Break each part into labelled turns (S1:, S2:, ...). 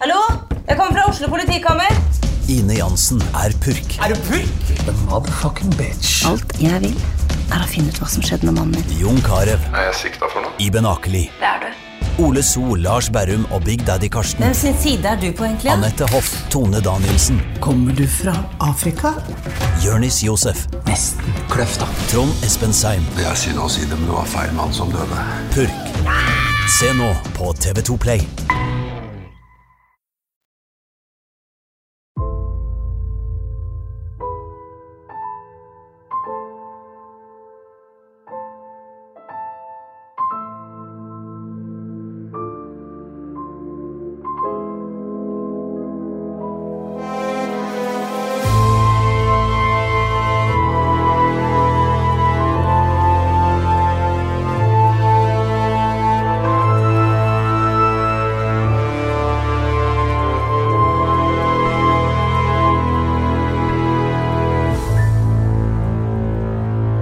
S1: Hallo? Jeg kommer fra Oslo politikammer.
S2: Ine Jansen er purk.
S3: Er du purk?
S4: Alt jeg vil, er å finne ut hva som skjedde med mannen min.
S2: Jon Carew,
S5: er jeg sikta for noe?
S2: Iben Akeli. Det er du. Ole So, Lars Berrum og Big Daddy Karsten.
S1: Hvem sin side er du på, egentlig?
S2: Anette Hoff, Tone Danielsen,
S3: Kommer du fra Afrika?
S2: Jørnis Josef,
S3: Nesten. Kløfta.
S2: Trond Espen Seim,
S5: Det er synd å si det, men det var feil mann som døde.
S2: Purk. Se nå på TV2 Play.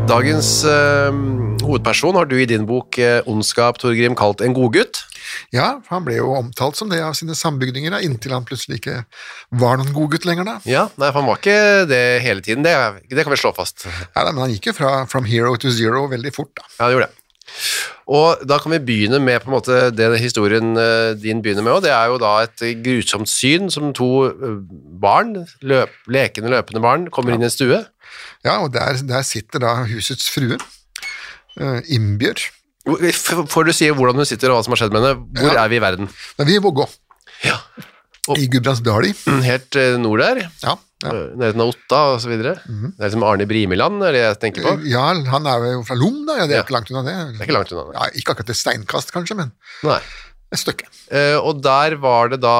S6: Dagens eh, hovedperson har du i din bok eh, Ondskap, Torgrim, kalt en godgutt.
S7: Ja, for han ble jo omtalt som det av sine sambygdinger, da, inntil han plutselig ikke var noen godgutt lenger. da.
S6: Ja, nei, for han var ikke det hele tiden. Det, er- det kan vi slå fast.
S7: Ja, da, Men han gikk jo fra from hero to zero veldig fort. da.
S6: Ja, det gjorde det. Og da kan vi begynne med på en måte det historien eh, din begynner med, og det er jo da et grusomt syn som to eh, barn, løp, lekende løpende barn, kommer inn i en stue.
S7: Ja, Og der, der sitter da husets frue, eh, Imbjørg.
S6: eh, F- Får du si hvordan hun sitter og hva som har skjedd med henne? Hvor
S7: Ja.
S6: er vi i verden?
S7: Men vi i Vågå,
S6: Ja.
S7: i Gudbrandsdali.
S6: Helt eh, nord der,
S7: Ja, ja. Mhm.
S6: eh, nærheten av Otta og så videre. Det er liksom Arne Brimiland, er det jeg tenker på.
S7: ja, han er jo fra Lom, da. Ja, det er
S6: Ja.
S7: ikke langt unna det.
S6: Det er ikke langt unna. nei.
S7: Ja, ikke akkurat et steinkast, kanskje, men
S6: Nei.
S7: et stykke.
S6: Eh, og der var det da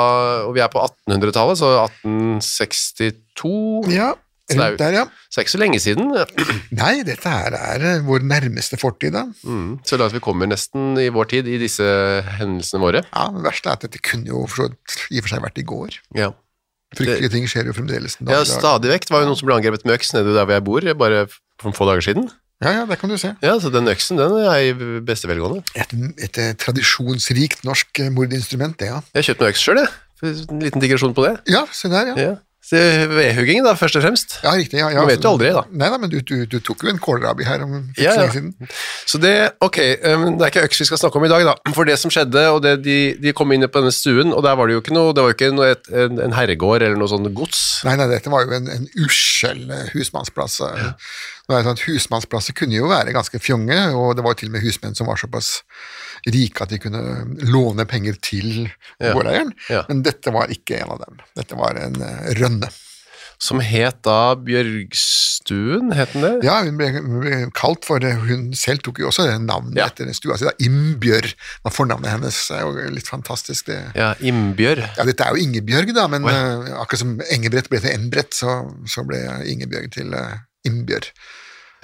S6: Og vi er på 1800-tallet, så 1862
S7: Ja,
S6: Så det er jo-
S7: rundt der, ja.
S6: Så det er ikke så lenge siden.
S7: Nei, dette her er eh, vår nærmeste fortid, da.
S6: Mm, så langt vi kommer nesten i vår tid i disse hendelsene våre.
S7: Ja, men Det verste er at dette kunne jo for så vidt i og for seg vært i går.
S6: Ja,
S7: Fryktelige ting skjer jo fremdeles. den dag
S6: ja
S7: i dag.
S6: stadig vekk. Det var jo noen som ble angrepet med øks nede der hvor jeg bor, bare for noen få dager siden.
S7: Ja, ja, der kan du se.
S6: Ja, så den øksen, den er i beste velgående.
S7: Et, et eh, tradisjonsrikt norsk eh, mordinstrument, det, ja.
S6: Jeg kjøpte meg øks sjøl, jeg. En liten digresjon på det.
S7: Ja, se der, ja.
S6: Ja. Så Vedhuggingen, da, først og fremst.
S7: Ja, riktig. Ja, ja.
S6: Man vet jo aldri, da.
S7: Nei, nei, men du, du, du tok jo en kålrabi her om for ikke
S6: Ja,
S7: så
S6: ja.
S7: lenge siden.
S6: Så det, ok, um, det er ikke øks vi skal snakke om i dag, da. For det som skjedde, og det, de, de kom inn på denne stuen, og der var det jo ikke noe, det var jo ikke noe, et, en, en herregård eller noe sånn gods.
S7: Nei, nei, dette var jo en, en uskjell eh, husmannsplass. eh. Nå er det sånn at Husmannsplasser kunne jo være ganske fjonge, og det var jo til og med husmenn som var såpass rike at de kunne eh, låne penger til gårdeieren,
S6: Ja.
S7: men dette var ikke en av dem. Dette var en eh, rønne.
S6: Som het da Bjørgstuen, het den det?
S7: Ja, hun ble, hun ble kalt for det. Hun selv tok jo også det navnet
S6: Ja.
S7: etter Altså, stua si. da. Imbjørg var fornavnet hennes. Det er jo litt fantastisk. Det.
S6: Ja, Imbjørg.
S7: Ja, dette er jo Ingebjørg, da, men
S6: Å,
S7: eh, akkurat som Engebrett ble til Enbrett, så, så ble Ingebjørg til uh, Imbjørg.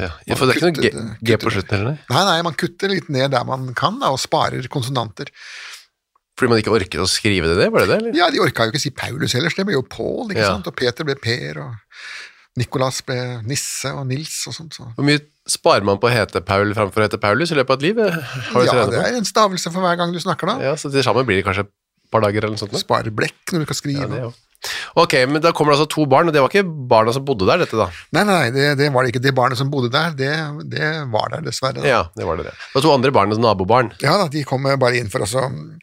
S6: Ja. ja, for det er ikke noe G,
S7: Kuttet-
S6: G på
S7: kuttet.
S6: slutten heller, nei?
S7: Nei, nei, man kutter litt ned der man kan, da, og sparer konsonanter.
S6: Fordi man ikke orket å skrive det, det, var det det? Eller?
S7: Ja, de orka jo ikke si Paulus ellers, det ble jo Pål, ikke
S6: Ja.
S7: sant, og Peter ble Per, og Nikolas ble Nisse, og Nils og sånt. Så.
S6: Hvor mye sparer man på å hete Paul framfor å hete Paulus i løpet av et liv? Eh, Har du
S7: Ja,
S6: trent
S7: det
S6: på?
S7: er en stavelse for hver gang du snakker, da.
S6: Ja, så til sammen blir det kanskje et par dager eller noe sånt. nå.
S7: Sparer blekk når du skal skrive.
S6: Ja, det, er jo. Ok, men da kommer det altså to barn, og det var ikke barna som bodde der, dette da?
S7: Nei, nei, nei, det, det var det ikke. Det barnet som bodde der, det, det var der dessverre. Da.
S6: Ja, det var det det. Det var to andre barn, altså nabobarn.
S7: Ja da, de kom bare inn for oss og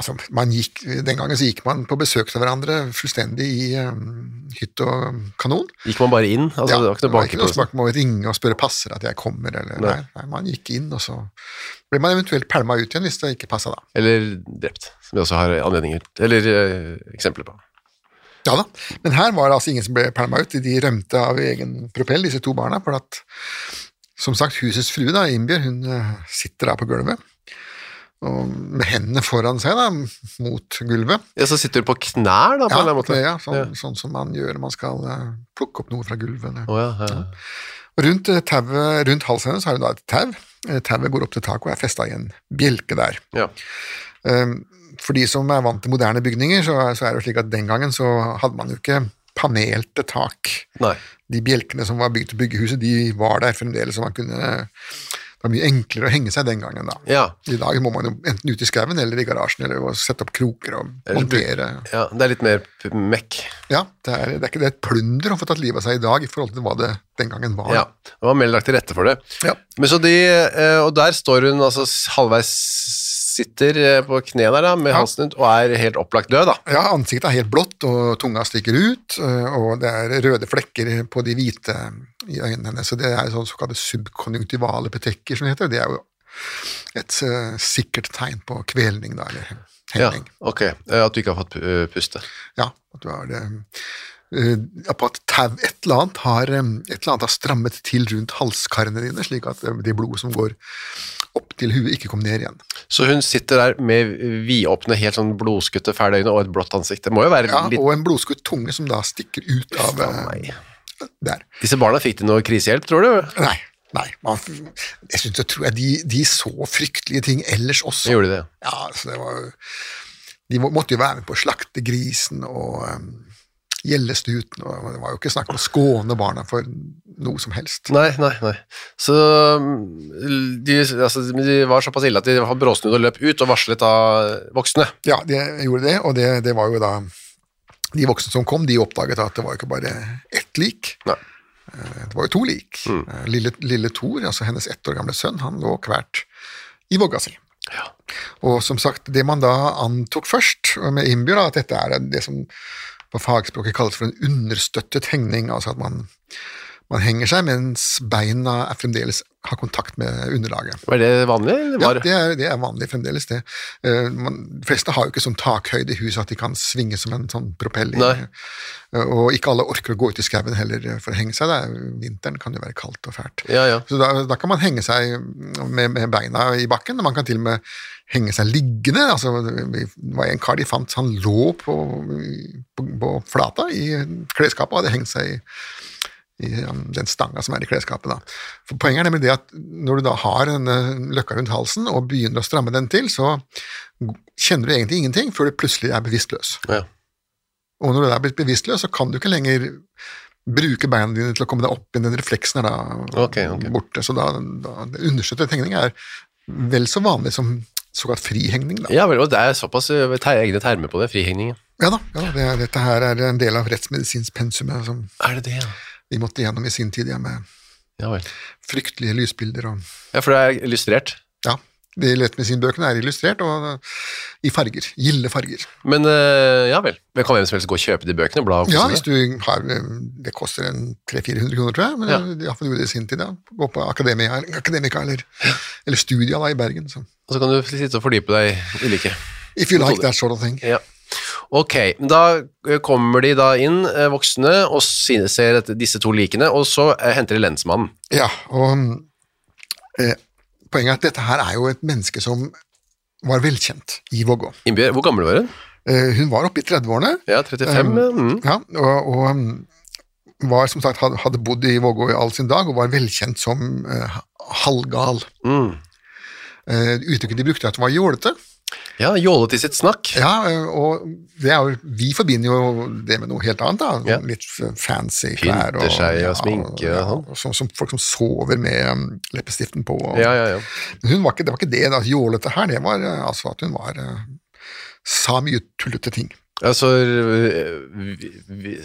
S7: Altså, man gikk, den gangen så gikk man på besøk til hverandre fullstendig i eh, hytt og kanon.
S6: Gikk man bare inn? Altså, det var ikke noe
S7: noe
S6: bankepost?
S7: snakk om å ringe og spørre passer at jeg kommer, eller nei.
S6: Nei.
S7: nei, man gikk inn, og så ble man eventuelt pælma ut igjen hvis det ikke passa da.
S6: Eller drept, som vi også har anledninger Eller eh, eksempler på.
S7: Ja da, men her var det altså ingen som ble pælma ut, de rømte av egen propell, disse to barna, for at som sagt, husets frue, da, Imbjørg, hun eh, sitter da på gulvet og med hendene foran seg, da, mot gulvet.
S6: Ja, så sitter du på knær, da, på en eller annen måte.
S7: ja, sånn, sånn som man gjør når man skal eh, plukke opp noe fra gulvet. Eller.
S6: Å, ja, ja, ja.
S7: Og Rundt, eh, tauet- rundt halsen hennes har hun da et tau. Eh, Tauet går opp til taket og er festa i en bjelke der.
S6: Ja.
S7: Ehm, For de som er vant til moderne bygninger, så, så er det jo slik at den gangen så hadde man jo ikke panelte tak.
S6: Nei.
S7: De bjelkene som var bygd til byggehuset, de var der fremdeles, så man kunne Det var mye enklere å henge seg den gangen, da.
S6: Ja.
S7: I dag må man jo enten ut i skauen eller i garasjen eller å sette opp kroker og
S6: Eller-
S7: montere.
S6: ja. Det er litt mer p- mekk.
S7: Ja, det er, det er ikke det er et plunder å få tatt livet av seg i dag i forhold til hva det den gangen var.
S6: Ja. Det var mer lagt til rette for det.
S7: Ja.
S6: Men så de, eh, og der står hun altså s- halvveis sitter eh, på kne der da, med
S7: Ja.
S6: halsen ut, og er helt opplagt død da.
S7: Ja, ansiktet er helt blått, og tunga stikker ut, øh, og det er røde flekker på de hvite i øynene hennes. Så det er sånn såkalte subkonjunktivale petekker, som det heter. Det er jo et øh, sikkert tegn på kvelning, da, eller
S6: Ja,
S7: hengning.
S6: ok. Eh, At du ikke har fått pu- eh, puste.
S7: Ja, at du har det øh, ja, på at tau et eller annet har øh, et eller annet har strammet til rundt halskarene dine, slik at øh, det blodet som går opp til huet, ikke kom ned igjen.
S6: Så hun sitter der med vidåpne, helt sånn blodskutte, fæle øyne og et blått ansikt. Det må jo være
S7: Ja,
S6: litt...
S7: og en blodskutt tunge som da stikker ut av
S6: Faen
S7: øh,
S6: meg.
S7: der.
S6: Disse barna fikk de noe krisehjelp, tror du?
S7: Nei. nei. Man, jeg synes, jeg tror jeg de, de så fryktelige ting ellers også.
S6: Gjorde de det?
S7: Ja, altså det var, de må- måtte jo være med på å slakte grisen og um, gjellestuten. Og det var jo ikke snakk om å skåne barna for noe som helst.
S6: Nei, nei, nei. Så mm, de, altså, de var såpass ille at de var bråsnudd og løp ut og varslet av voksne.
S7: Ja, de gjorde det, og det, det var jo da De voksne som kom, de oppdaget at det var jo ikke bare ett lik.
S6: Nei.
S7: Det var jo to lik. Eh, Lille, lille Thor, altså hennes ett år gamle sønn, han lå kvært i vogga si. Og som sagt, det man da antok først med Imbjørn, at dette er det som på fagspråket kalles for en understøttet hengning, altså at man, man henger seg mens beina er fremdeles har kontakt med underlaget.
S6: Var det vanlig? eller
S7: Ja,
S6: Var?
S7: det er, det er vanlig fremdeles, det. Eh, man, de fleste har jo ikke sånn takhøyde i huset at de kan svinge som en sånn propell. i-
S6: Nei.
S7: Eh, og ikke alle orker å gå ut i skauen heller eh, for å henge seg. Det er, vinteren kan jo være kaldt og fælt.
S6: Ja, ja.
S7: Så da, da kan man henge seg med, med beina i bakken, og man kan til og med henge seg liggende. Altså, det var en kar de fant, han lå på, på, på flata i klesskapet og hadde hengt seg i i um, den stanga som er i klesskapet. Da. For Poenget er nemlig det at når du da har denne løkka rundt halsen og begynner å stramme den til, så kjenner du egentlig ingenting før du plutselig er bevisstløs.
S6: Ja.
S7: Og når du er blitt bevisstløs, så kan du ikke lenger bruke beina dine til å komme deg opp igjen. Den refleksen er da
S6: Ok, ok.
S7: borte. Så da, da understøttet hengning er vel så vanlig som såkalt frihengning, da.
S6: Ja vel, og det er såpass eh, te egne termer på det, frihengningen.
S7: Ja da, ja, da det, er- dette her er en del av rettsmedisinpensumet som
S6: Er det det, ja?
S7: vi måtte gjennom i sin tid, ja, med
S6: Ja vel.
S7: fryktelige lysbilder og
S6: Ja, for det er illustrert.
S7: Ja. De lettmedisinbøkene er illustrert og i farger. Gilde farger.
S6: Men eh, ja vel. Men kan hvem som helst gå og kjøpe de bøkene? og Bla, og
S7: Ja,
S6: kose
S7: hvis
S6: seg?
S7: du har, eh, Det koster en 300-400 kroner, tror jeg. Men
S6: Ja.
S7: ja. iallfall gjorde det i sin tid. Ja. Gå på akademia, akademika eller, eller studia da, i Bergen. Så.
S6: Og så kan du sitte og fordype deg i ulike
S7: If you like that sort of thing.
S6: Ja. Ok, men da eh, kommer de da inn, eh, voksne, og si- ser dette, disse to likene, og så eh, henter de lensmannen.
S7: Ja, og eh, Poenget er at dette her er jo et menneske som var velkjent i Vågå.
S6: Innbjørg, hvor gammel var hun?
S7: Eh, hun var oppe i 30-årene.
S6: Ja, 35?
S7: Eh,
S6: mm.
S7: Ja, og, og um, var som sagt, had- hadde bodd i Vågå i all sin dag og var velkjent som eh, halvgal.
S6: Mm.
S7: Eh, uttrykket de brukte, at hun var jålete.
S6: Ja, jålet i sitt snakk.
S7: Ja, eh, og det er jo, vi forbinder jo det med noe helt annet, da.
S6: Ja.
S7: Litt f- fancy
S6: Pynter
S7: klær.
S6: seg og sminke og sånn.
S7: og Som, som folk som sover med um, leppestiften på. Og,
S6: Ja, ja, ja.
S7: Hun var ikke, det var ikke det da, jålete her, det var eh, altså at hun var eh, sa mye tullete ting.
S6: Altså, eh, vi, vi,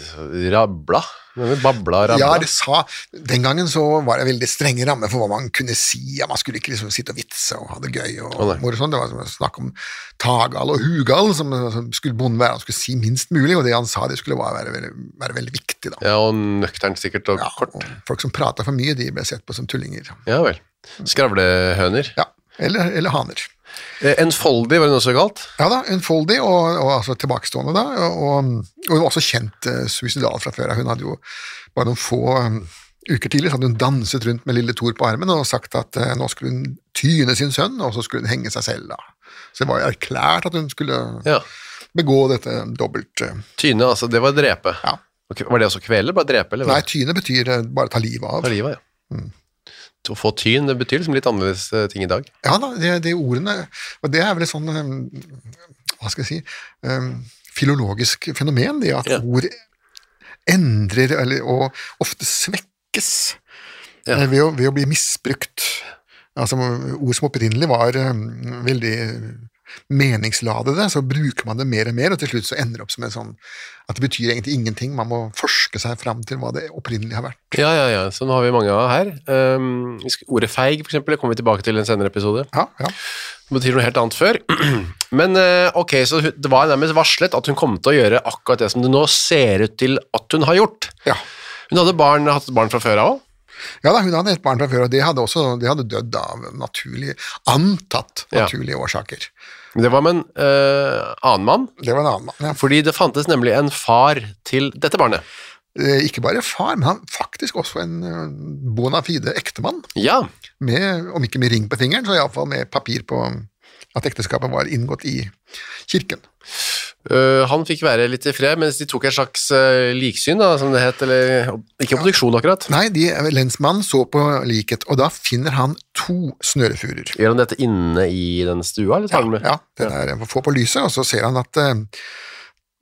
S6: rabla? Hvem Babla, rabla?
S7: Ja, det sa, Den gangen så var det veldig strenge rammer for hva man kunne si. Ja, man skulle ikke liksom sitte og vitse og ha det gøy. og
S6: Å, nei.
S7: moro sånn. Det var som å snakke om tagal og hugal, som, som skulle bonden være. Han skulle si minst mulig, og det han sa, det skulle være, være, være, være veldig viktig. da.
S6: Ja, og nøkternt sikkert, og
S7: Ja,
S6: kort.
S7: og folk som prata for mye, de ble sett på som tullinger.
S6: Ja vel. Skravlehøner.
S7: Ja, Eller, eller haner.
S6: Eh, Enfoldig, var det noe så galt?
S7: Ja da, Unfoldig og, og altså tilbakestående, da. Og, og hun var også kjent eh, suicidal fra før. Hun hadde jo bare noen få eh, uker tidligere så hadde hun danset rundt med lille Thor på armen og sagt at eh, nå skulle hun tyne sin sønn, og så skulle hun henge seg selv. da. Så det var jo erklært at hun skulle
S6: Ja.
S7: begå dette dobbelt eh,
S6: Tyne, altså, det var drepe.
S7: Ja.
S6: Ok, Var det også kvele? Bare drepe, eller? hva?
S7: Nei, tyne betyr eh, bare ta livet av.
S6: Ta livet, ja. Å få tyn, det betyr liksom litt annerledes eh, ting i dag.
S7: Ja da, de, de ordene Og det er vel et sånn um, Hva skal jeg si um, Filologisk fenomen, det at
S6: Ja.
S7: ord endrer eller, og ofte svekkes
S6: Ja.
S7: eh, ved, å, ved å bli misbrukt. Altså Ord som opprinnelig var um, veldig meningsladede, så bruker man det mer og mer, og til slutt så ender det opp som en sånn at det betyr egentlig ingenting. Man må forske seg fram til hva det opprinnelig har vært.
S6: Ja, ja, ja. Sånn har vi mange av her. Um, vi skal- ordet feig, for eksempel, det kommer vi tilbake til i en senere episode.
S7: Ja, ja.
S6: Det betyr noe helt annet før. Men eh, ok, så hun- det var nærmest varslet at hun kom til å gjøre akkurat det som det nå ser ut til at hun har gjort.
S7: ja.
S6: Hun hadde barn, hatt barn fra før av òg.
S7: Ja da, hun hadde et barn fra før, og det hadde, også, det hadde dødd av naturlig, antatt
S6: Ja.
S7: naturlige årsaker.
S6: Det var med en eh, annen mann,
S7: Det var en annen mann. Ja.
S6: fordi det fantes nemlig en far til dette barnet.
S7: Eh, Ikke bare far, men han faktisk også en eh, bona fide ektemann,
S6: Ja,
S7: med, om ikke med ring på fingeren, så iallfall med papir på at ekteskapet var inngått i kirken.
S6: øh, han fikk være litt i fred, mens de tok en slags øh, liksyn, da, som det het, eller ikke obduksjon akkurat.
S7: Nei, de, lensmannen så på liket, og da finner han to snørefurer.
S6: Gjør han dette inne i den stua, eller tar han med?
S7: Ja, den er få på lyset, og så ser han at eh,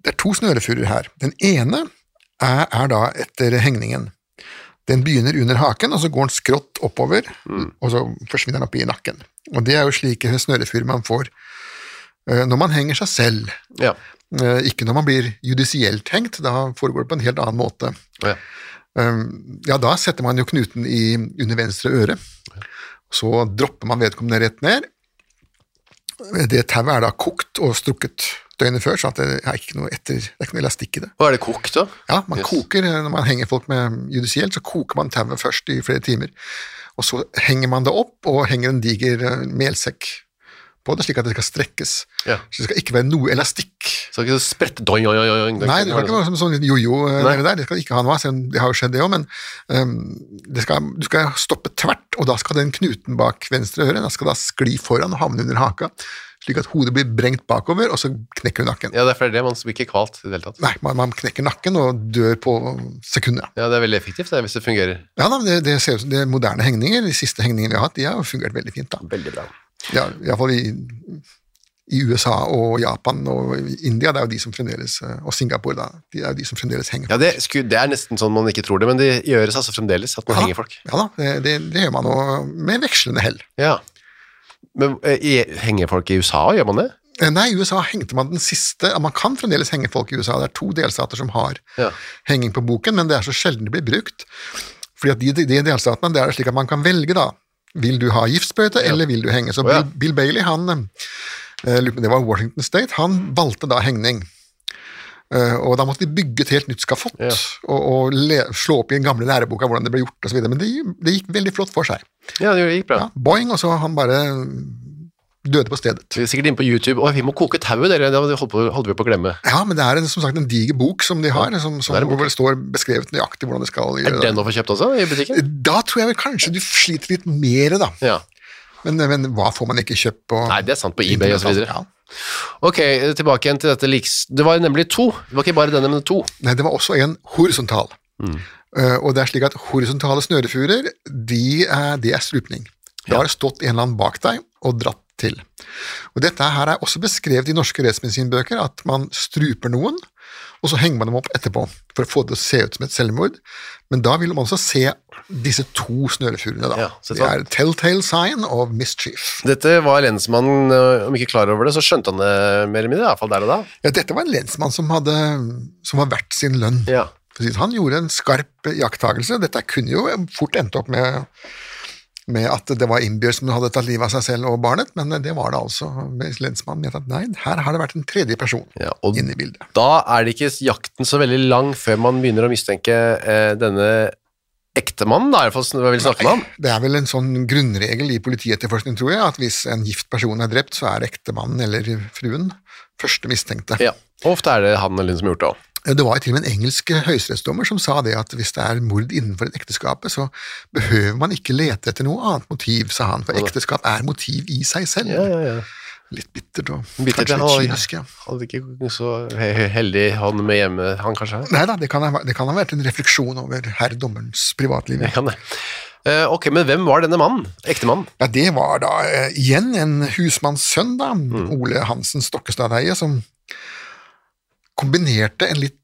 S7: det er to snørefurer her. Den ene er, er da etter hengningen. Den begynner under haken, og så går den skrått oppover, og så forsvinner den opp i nakken. Og det er jo slike snørefurer man får eh, når man henger seg selv,
S6: Ja.
S7: Eh, ikke når man blir judisielt hengt, da foregår det på en helt annen måte.
S6: Ja.
S7: Um, Ja, da setter man jo knuten i, under venstre øre. Så dropper man vedkommende rett ned. Det tauet er da kokt og strukket døgnet før, så at det er ikke noe etter, det er ikke noe elastikk i det.
S6: Og er det kokt, da?
S7: Ja, man
S6: Yes.
S7: koker, eh, Når man henger folk med judisielt, så koker man tauet først i flere timer. Og så henger man det opp og henger en diger eh, melsekk på det, slik at det skal strekkes.
S6: Ja.
S7: Så det skal ikke være noe elastikk.
S6: Så det er ikke så spredt doing, doing, doing, doing.
S7: Nei, det skal ikke være som sånn liten jojo eh,
S6: Nei.
S7: nede der. Det skal ikke ha noe av, selv om det har jo skjedd det òg, men ehm, det skal, du skal stoppe tvert, og da skal den knuten bak venstre øre da skal da skli foran og havne under haka, slik at hodet blir brengt bakover, og så knekker du nakken.
S6: Ja, derfor er det det, man blir ikke kvalt i det hele tatt.
S7: Nei, man, man knekker nakken og dør på sekundet.
S6: Ja, det er veldig effektivt, det, hvis det fungerer.
S7: Ja, da, det, det ser ut som det er moderne hengninger, de siste hengningene vi har hatt, de har jo fungert veldig fint, da.
S6: Veldig bra.
S7: Ja, Iallfall i, i USA og Japan og India, det er jo de som fremdeles, eh, og Singapore, da, de er jo de som fremdeles henger
S6: Ja, det, sku, det er nesten sånn man ikke tror det, men det gjøres altså fremdeles, at man henger folk.
S7: Ja da, det, det, det gjør man nå med vekslende hell.
S6: Ja. Men eh, i- henger folk i USA, gjør man det?
S7: Eh, Nei, i USA hengte man den siste ja, Man kan fremdeles henge folk i USA. Det er to delstater som har
S6: Ja.
S7: henging på boken, men det er så sjelden det blir brukt. Fordi at de, de, de delstatene, det er det slik at man kan velge, da. Vil du ha giftsprøyte, eller vil du henge? Så
S6: Å, ja.
S7: Bill, Bill Bailey, han eh, lurer på om Det var Washington State. Han valgte da hengning. Eh, og da måtte de bygge et helt nytt skafott
S6: Ja.
S7: og, og le, slå opp i den gamle læreboka hvordan det ble gjort osv. Men det, det gikk veldig flott for seg.
S6: Ja, det gikk bra.
S7: Ja, boing, og så han bare døde på stedet.
S6: Vi er sikkert inne på YouTube. Å, vi må koke tauet, dere. Det holdt, på, holdt vi på å glemme.
S7: Ja, men det er en, som sagt en diger bok som de har, som, som,
S6: Det er en bok.
S7: hvor det står beskrevet nøyaktig hvordan det skal
S6: Er
S7: gjøre
S6: den å få kjøpt også, i butikken?
S7: Da tror jeg vel kanskje du sliter litt mer, da.
S6: Ja.
S7: Men, men hva får man ikke kjøpt på
S6: Nei, det er sant, på eBay og så videre.
S7: Ja.
S6: Ok, eh, tilbake igjen til dette liks. Det var nemlig to. Det var ikke bare denne, men to.
S7: Nei, det var også en horisontal.
S6: Mm.
S7: Eh, og det er slik at horisontale snørefurer, de er, det er strupning. Da har det stått en eller annen bak deg og dratt til. Og dette her er også beskrevet i norske rettsmedisinbøker, at man struper noen, og så henger man dem opp etterpå for å få det til å se ut som et selvmord. Men da vil man også se disse to snørefurene, da.
S6: Ja, så sånn-
S7: det er telltale sign of mischief.
S6: Dette var lensmannen, eh, om ikke klar over det, så skjønte han det mer eller mindre, iallfall der og da.
S7: Ja, dette var en lensmann som, hadde, som var verdt sin lønn.
S6: Ja.
S7: For å si det sånn, Han gjorde en skarp jakttagelse. Dette kunne jo fort endt opp med, med at det var innbyrd som hadde tatt livet av seg selv og barnet, men det var det altså. Mens Lensmannen mente at nei, her har det vært en tredje person
S6: Ja, og-
S7: inne i bildet.
S6: Da er det ikke jakten så veldig lang før man begynner å mistenke eh, denne ektemannen, da, i hvert fall som vi vil snakke med ham.
S7: Det er vel en sånn grunnregel i politietterforskning, tror jeg, at hvis en gift person er drept, så er ektemannen eller fruen første mistenkte.
S6: Ja. Og Ofte er det han eller hun som har gjort det òg.
S7: Eh, Det var jo til og med en engelsk eh, høyesterettsdommer som sa det at hvis det er mord innenfor et ekteskapet, så behøver man ikke lete etter noe annet motiv, sa han, for ekteskap er motiv i seg selv. Litt bittert og
S6: Bittert,
S7: kanskje
S6: ja,
S7: litt
S6: og-
S7: kynisk. Ja.
S6: Hadde ikke så he- he- heldig han med hjemme, han kanskje?
S7: Nei da, det kan ha det kan ha vært en refleksjon over herr dommerens privatliv.
S6: Jeg kan det. Eh, ok, men hvem var denne mannen? Ektemannen?
S7: Ja, det var da eh, igjen en husmannssønn, da,
S6: Mm.
S7: Ole Hansen Stokkestadeie, som kombinerte en litt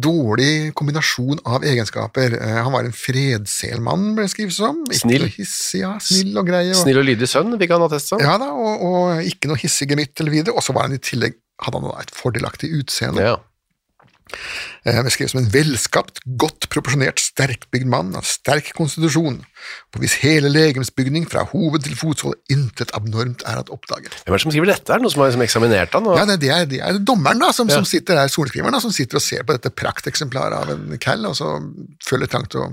S7: dårlig kombinasjon av egenskaper. Eh, han var en fredselmann, ble det skrevet som. Ikke
S6: Snill.
S7: noe Hissig, ja, snill og grei. Og,
S6: Snill og lydig sønn, fikk han attest som?
S7: Ja da, og, og ikke noe hissig gemytt eller videre. Og så var han i tillegg hadde han da et fordelaktig utseende.
S6: Ja.
S7: Eh, Beskrevet som en velskapt, godt proporsjonert, sterkbygd mann av sterk konstitusjon, på hvis hele legemsbygning fra hoved til fotsåle intet abnormt er at oppdage.
S6: Hvem er det som skriver dette? Er det noen som har liksom eksaminert han? Og...
S7: Ja, det, det, er, det er dommeren da, som,
S6: Ja.
S7: som sitter der, sorenskriveren, da, som sitter og ser på dette prakteksemplaret av en cal, og så føler trang til å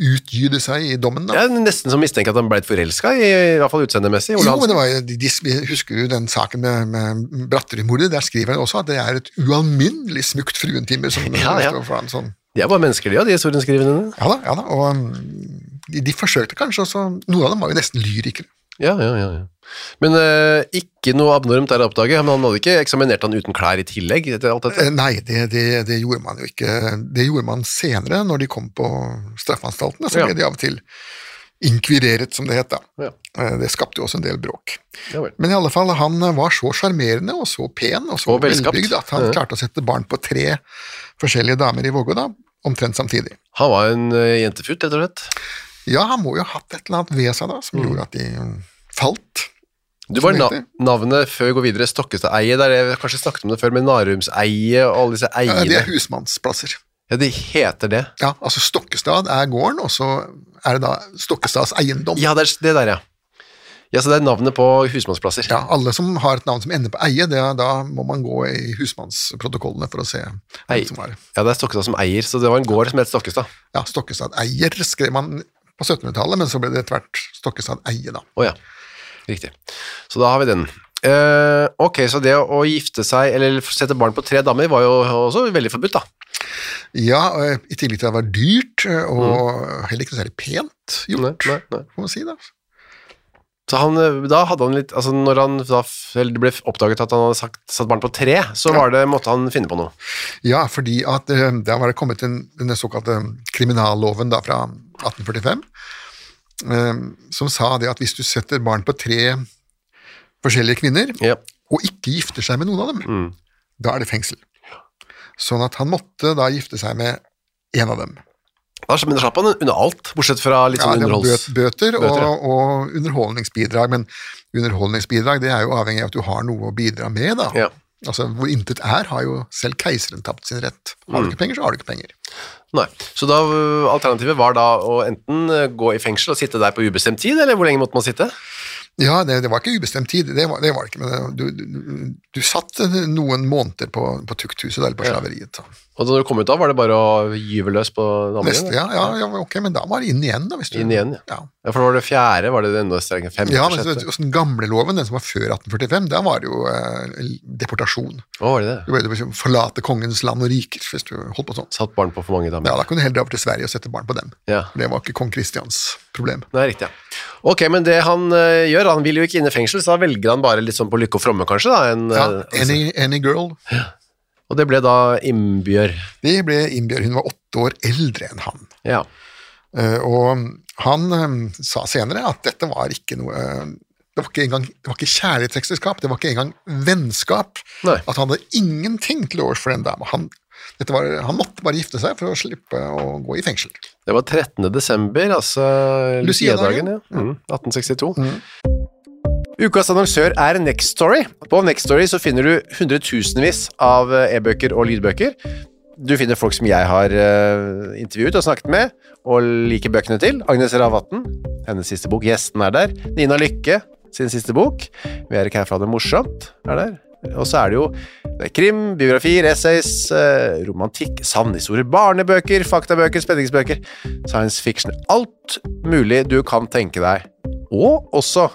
S7: utgyde seg i dommen. da.
S6: Jeg er nesten som mistenker at han ble litt forelska, i, i hvert fall utseendemessig. Ole
S7: Jo, men
S6: Hansen.
S7: det var jo, de, de, vi husker jo den saken med, med Bratterud-mordet. Der skriver han også at det er et ualminnelig smukt fruentimer som
S6: Ja, ja.
S7: står foran sånn.
S6: De er bare mennesker, de, ja, de sorenskrivende.
S7: Ja da, ja da. Og mm, de, de forsøkte kanskje også Noen av dem var jo nesten lyrikere.
S6: Ja, ja, ja, ja. Men eh, ikke noe abnormt der å oppdage. Men han hadde ikke eksaminert han uten klær i tillegg? Etter alt dette.
S7: Eh, Nei, det, det, det gjorde man jo ikke. Det gjorde man senere, når de kom på straffeanstaltene. Så
S6: Ja.
S7: ble de av og til inkvireret, som det het da.
S6: Ja.
S7: Eh, Det skapte jo også en del bråk.
S6: Ja vel.
S7: Men i alle fall, han var så sjarmerende og så pen og så
S6: Og velskapt.
S7: velbygd at han
S6: Ja.
S7: klarte å sette barn på tre forskjellige damer i Vågå da, omtrent samtidig.
S6: Han var en eh, jentefutt, rett og slett.
S7: Ja, han må jo ha hatt et eller annet ved seg da, som gjorde at de mm, falt.
S6: Du var
S7: Som
S6: na
S7: heter?
S6: navnet før vi går videre, Stokkestad-eie, der jeg kanskje snakket om det før, med Narumseie og alle disse
S7: Ja,
S6: eiene.
S7: de
S6: Ja,
S7: Eh, er husmannsplasser.
S6: de heter det.
S7: Ja, altså Stokkestad er gården, og så er det da Stokkestads eiendom.
S6: Ja, det er det der, ja. Ja, så det er navnet på husmannsplasser.
S7: Ja, alle som har et navn som ender på eie, det er, da må man gå i husmannsprotokollene for å se
S6: Ei-
S7: hvem som var
S6: Ja, det er Stokkestad som eier, så det var en gård som het Stokkestad.
S7: Ja, Stokkestad eier skrev man på 1700-tallet, men så ble det etter hvert Stokkestad eie, da.
S6: Å ja, riktig. Så da har vi den. Eh, ok, så det å gifte seg, eller sette barn på tre damer, var jo også veldig forbudt, da.
S7: Ja, og i tillegg til at det var dyrt, eh, og heller ikke noe særlig pent gjort,
S6: Mm. Nei, nei, nei.
S7: får man si da.
S6: Så han, eh, da hadde han litt, altså når han da, f- eller det ble oppdaget at han hadde sagt, satt barn på tre, så var det, måtte han finne på noe.
S7: Ja, fordi at eh, da var det kommet en, denne såkalte kriminalloven da fra 1845, eh, som sa det at hvis du setter barn på tre forskjellige kvinner,
S6: Ja. Mm.
S7: og ikke gifter seg med noen av dem, da er det fengsel. Sånn at han måtte da gifte seg med en av dem.
S6: Da, men da slapp han unna alt, bortsett fra litt
S7: Ja,
S6: sånn
S7: det var
S6: underholds...
S7: bøt, bøter og,
S6: Bøter, ja.
S7: og underholdningsbidrag, men underholdningsbidrag det er jo avhengig av at du har noe å bidra med, da.
S6: Ja.
S7: Altså, Hvor intet er, har jo selv keiseren tapt sin rett. Har
S6: Mm.
S7: du ikke penger, så har du ikke penger.
S6: Nei. Så da, øh, alternativet var da å enten øh, gå i fengsel og sitte der på ubestemt tid, eller hvor lenge måtte man sitte?
S7: Ja, det, det var ikke ubestemt tid, det var det, var det ikke, men du, du, du satt noen måneder på, på tukthuset eller på slaveriet. da.
S6: Og da du kom ut da, var det bare å gyve løs på damene?
S7: Neste,
S6: eller?
S7: ja, ja, ja, ok, men da var det inn igjen, da. Hvis du,
S6: Inn igjen, ja.
S7: ja.
S6: Ja, for da var det fjerde, var det det enda strengere? Fem,
S7: Ja, men
S6: sjette?
S7: så, vet du, hos den gamle loven, den som var før 1845, der var det jo eh, deportasjon.
S6: Å, var det
S7: Du
S6: det?
S7: ble liksom forlate kongens land og riker hvis du holdt på sånn.
S6: Satt barn på for mange
S7: Ja,
S6: damer?
S7: Da kunne du heller dra over til Sverige og sette barn på dem.
S6: Ja.
S7: For Det var ikke kong Kristians problem.
S6: Nei, riktig, ja. Ok, men det han øh, gjør, han vil jo ikke inn i fengsel, så da velger han bare litt sånn på lykke og fromme, kanskje, da? En,
S7: Ja,
S6: øh, altså-
S7: any, any girl.
S6: Og det ble da Imbjørg.
S7: Det ble Innbjørg, hun var åtte år eldre enn han.
S6: Ja.
S7: Eh, og han eh, sa senere at dette var ikke noe eh, det var ikke, engang, det var ikke kjærlighetsekteskap, det var ikke engang vennskap.
S6: Nei.
S7: At han hadde ingenting til overs for den dama. Han, dette var, han måtte bare gifte seg for å slippe å gå i fengsel.
S6: Det var 13. desember, altså
S7: Lucia-dagen.
S6: Lucia-dagen, ja. Mm, 1862. Ukas annonsør er Next Story. På Next Story så finner du hundretusenvis av eh, e-bøker og lydbøker. Du finner folk som jeg har eh, intervjuet og snakket med, og liker bøkene til. Agnes Ravatn, hennes siste bok. Gjesten er der. Nina Lykke, sin siste bok. Vi er ikke her for å ha det morsomt, er der. Og så er det jo det er krim, biografier, essays, eh, romantikk, sannhistorier, barnebøker, faktabøker, spenningsbøker, science fiction. Alt mulig du kan tenke deg. Og også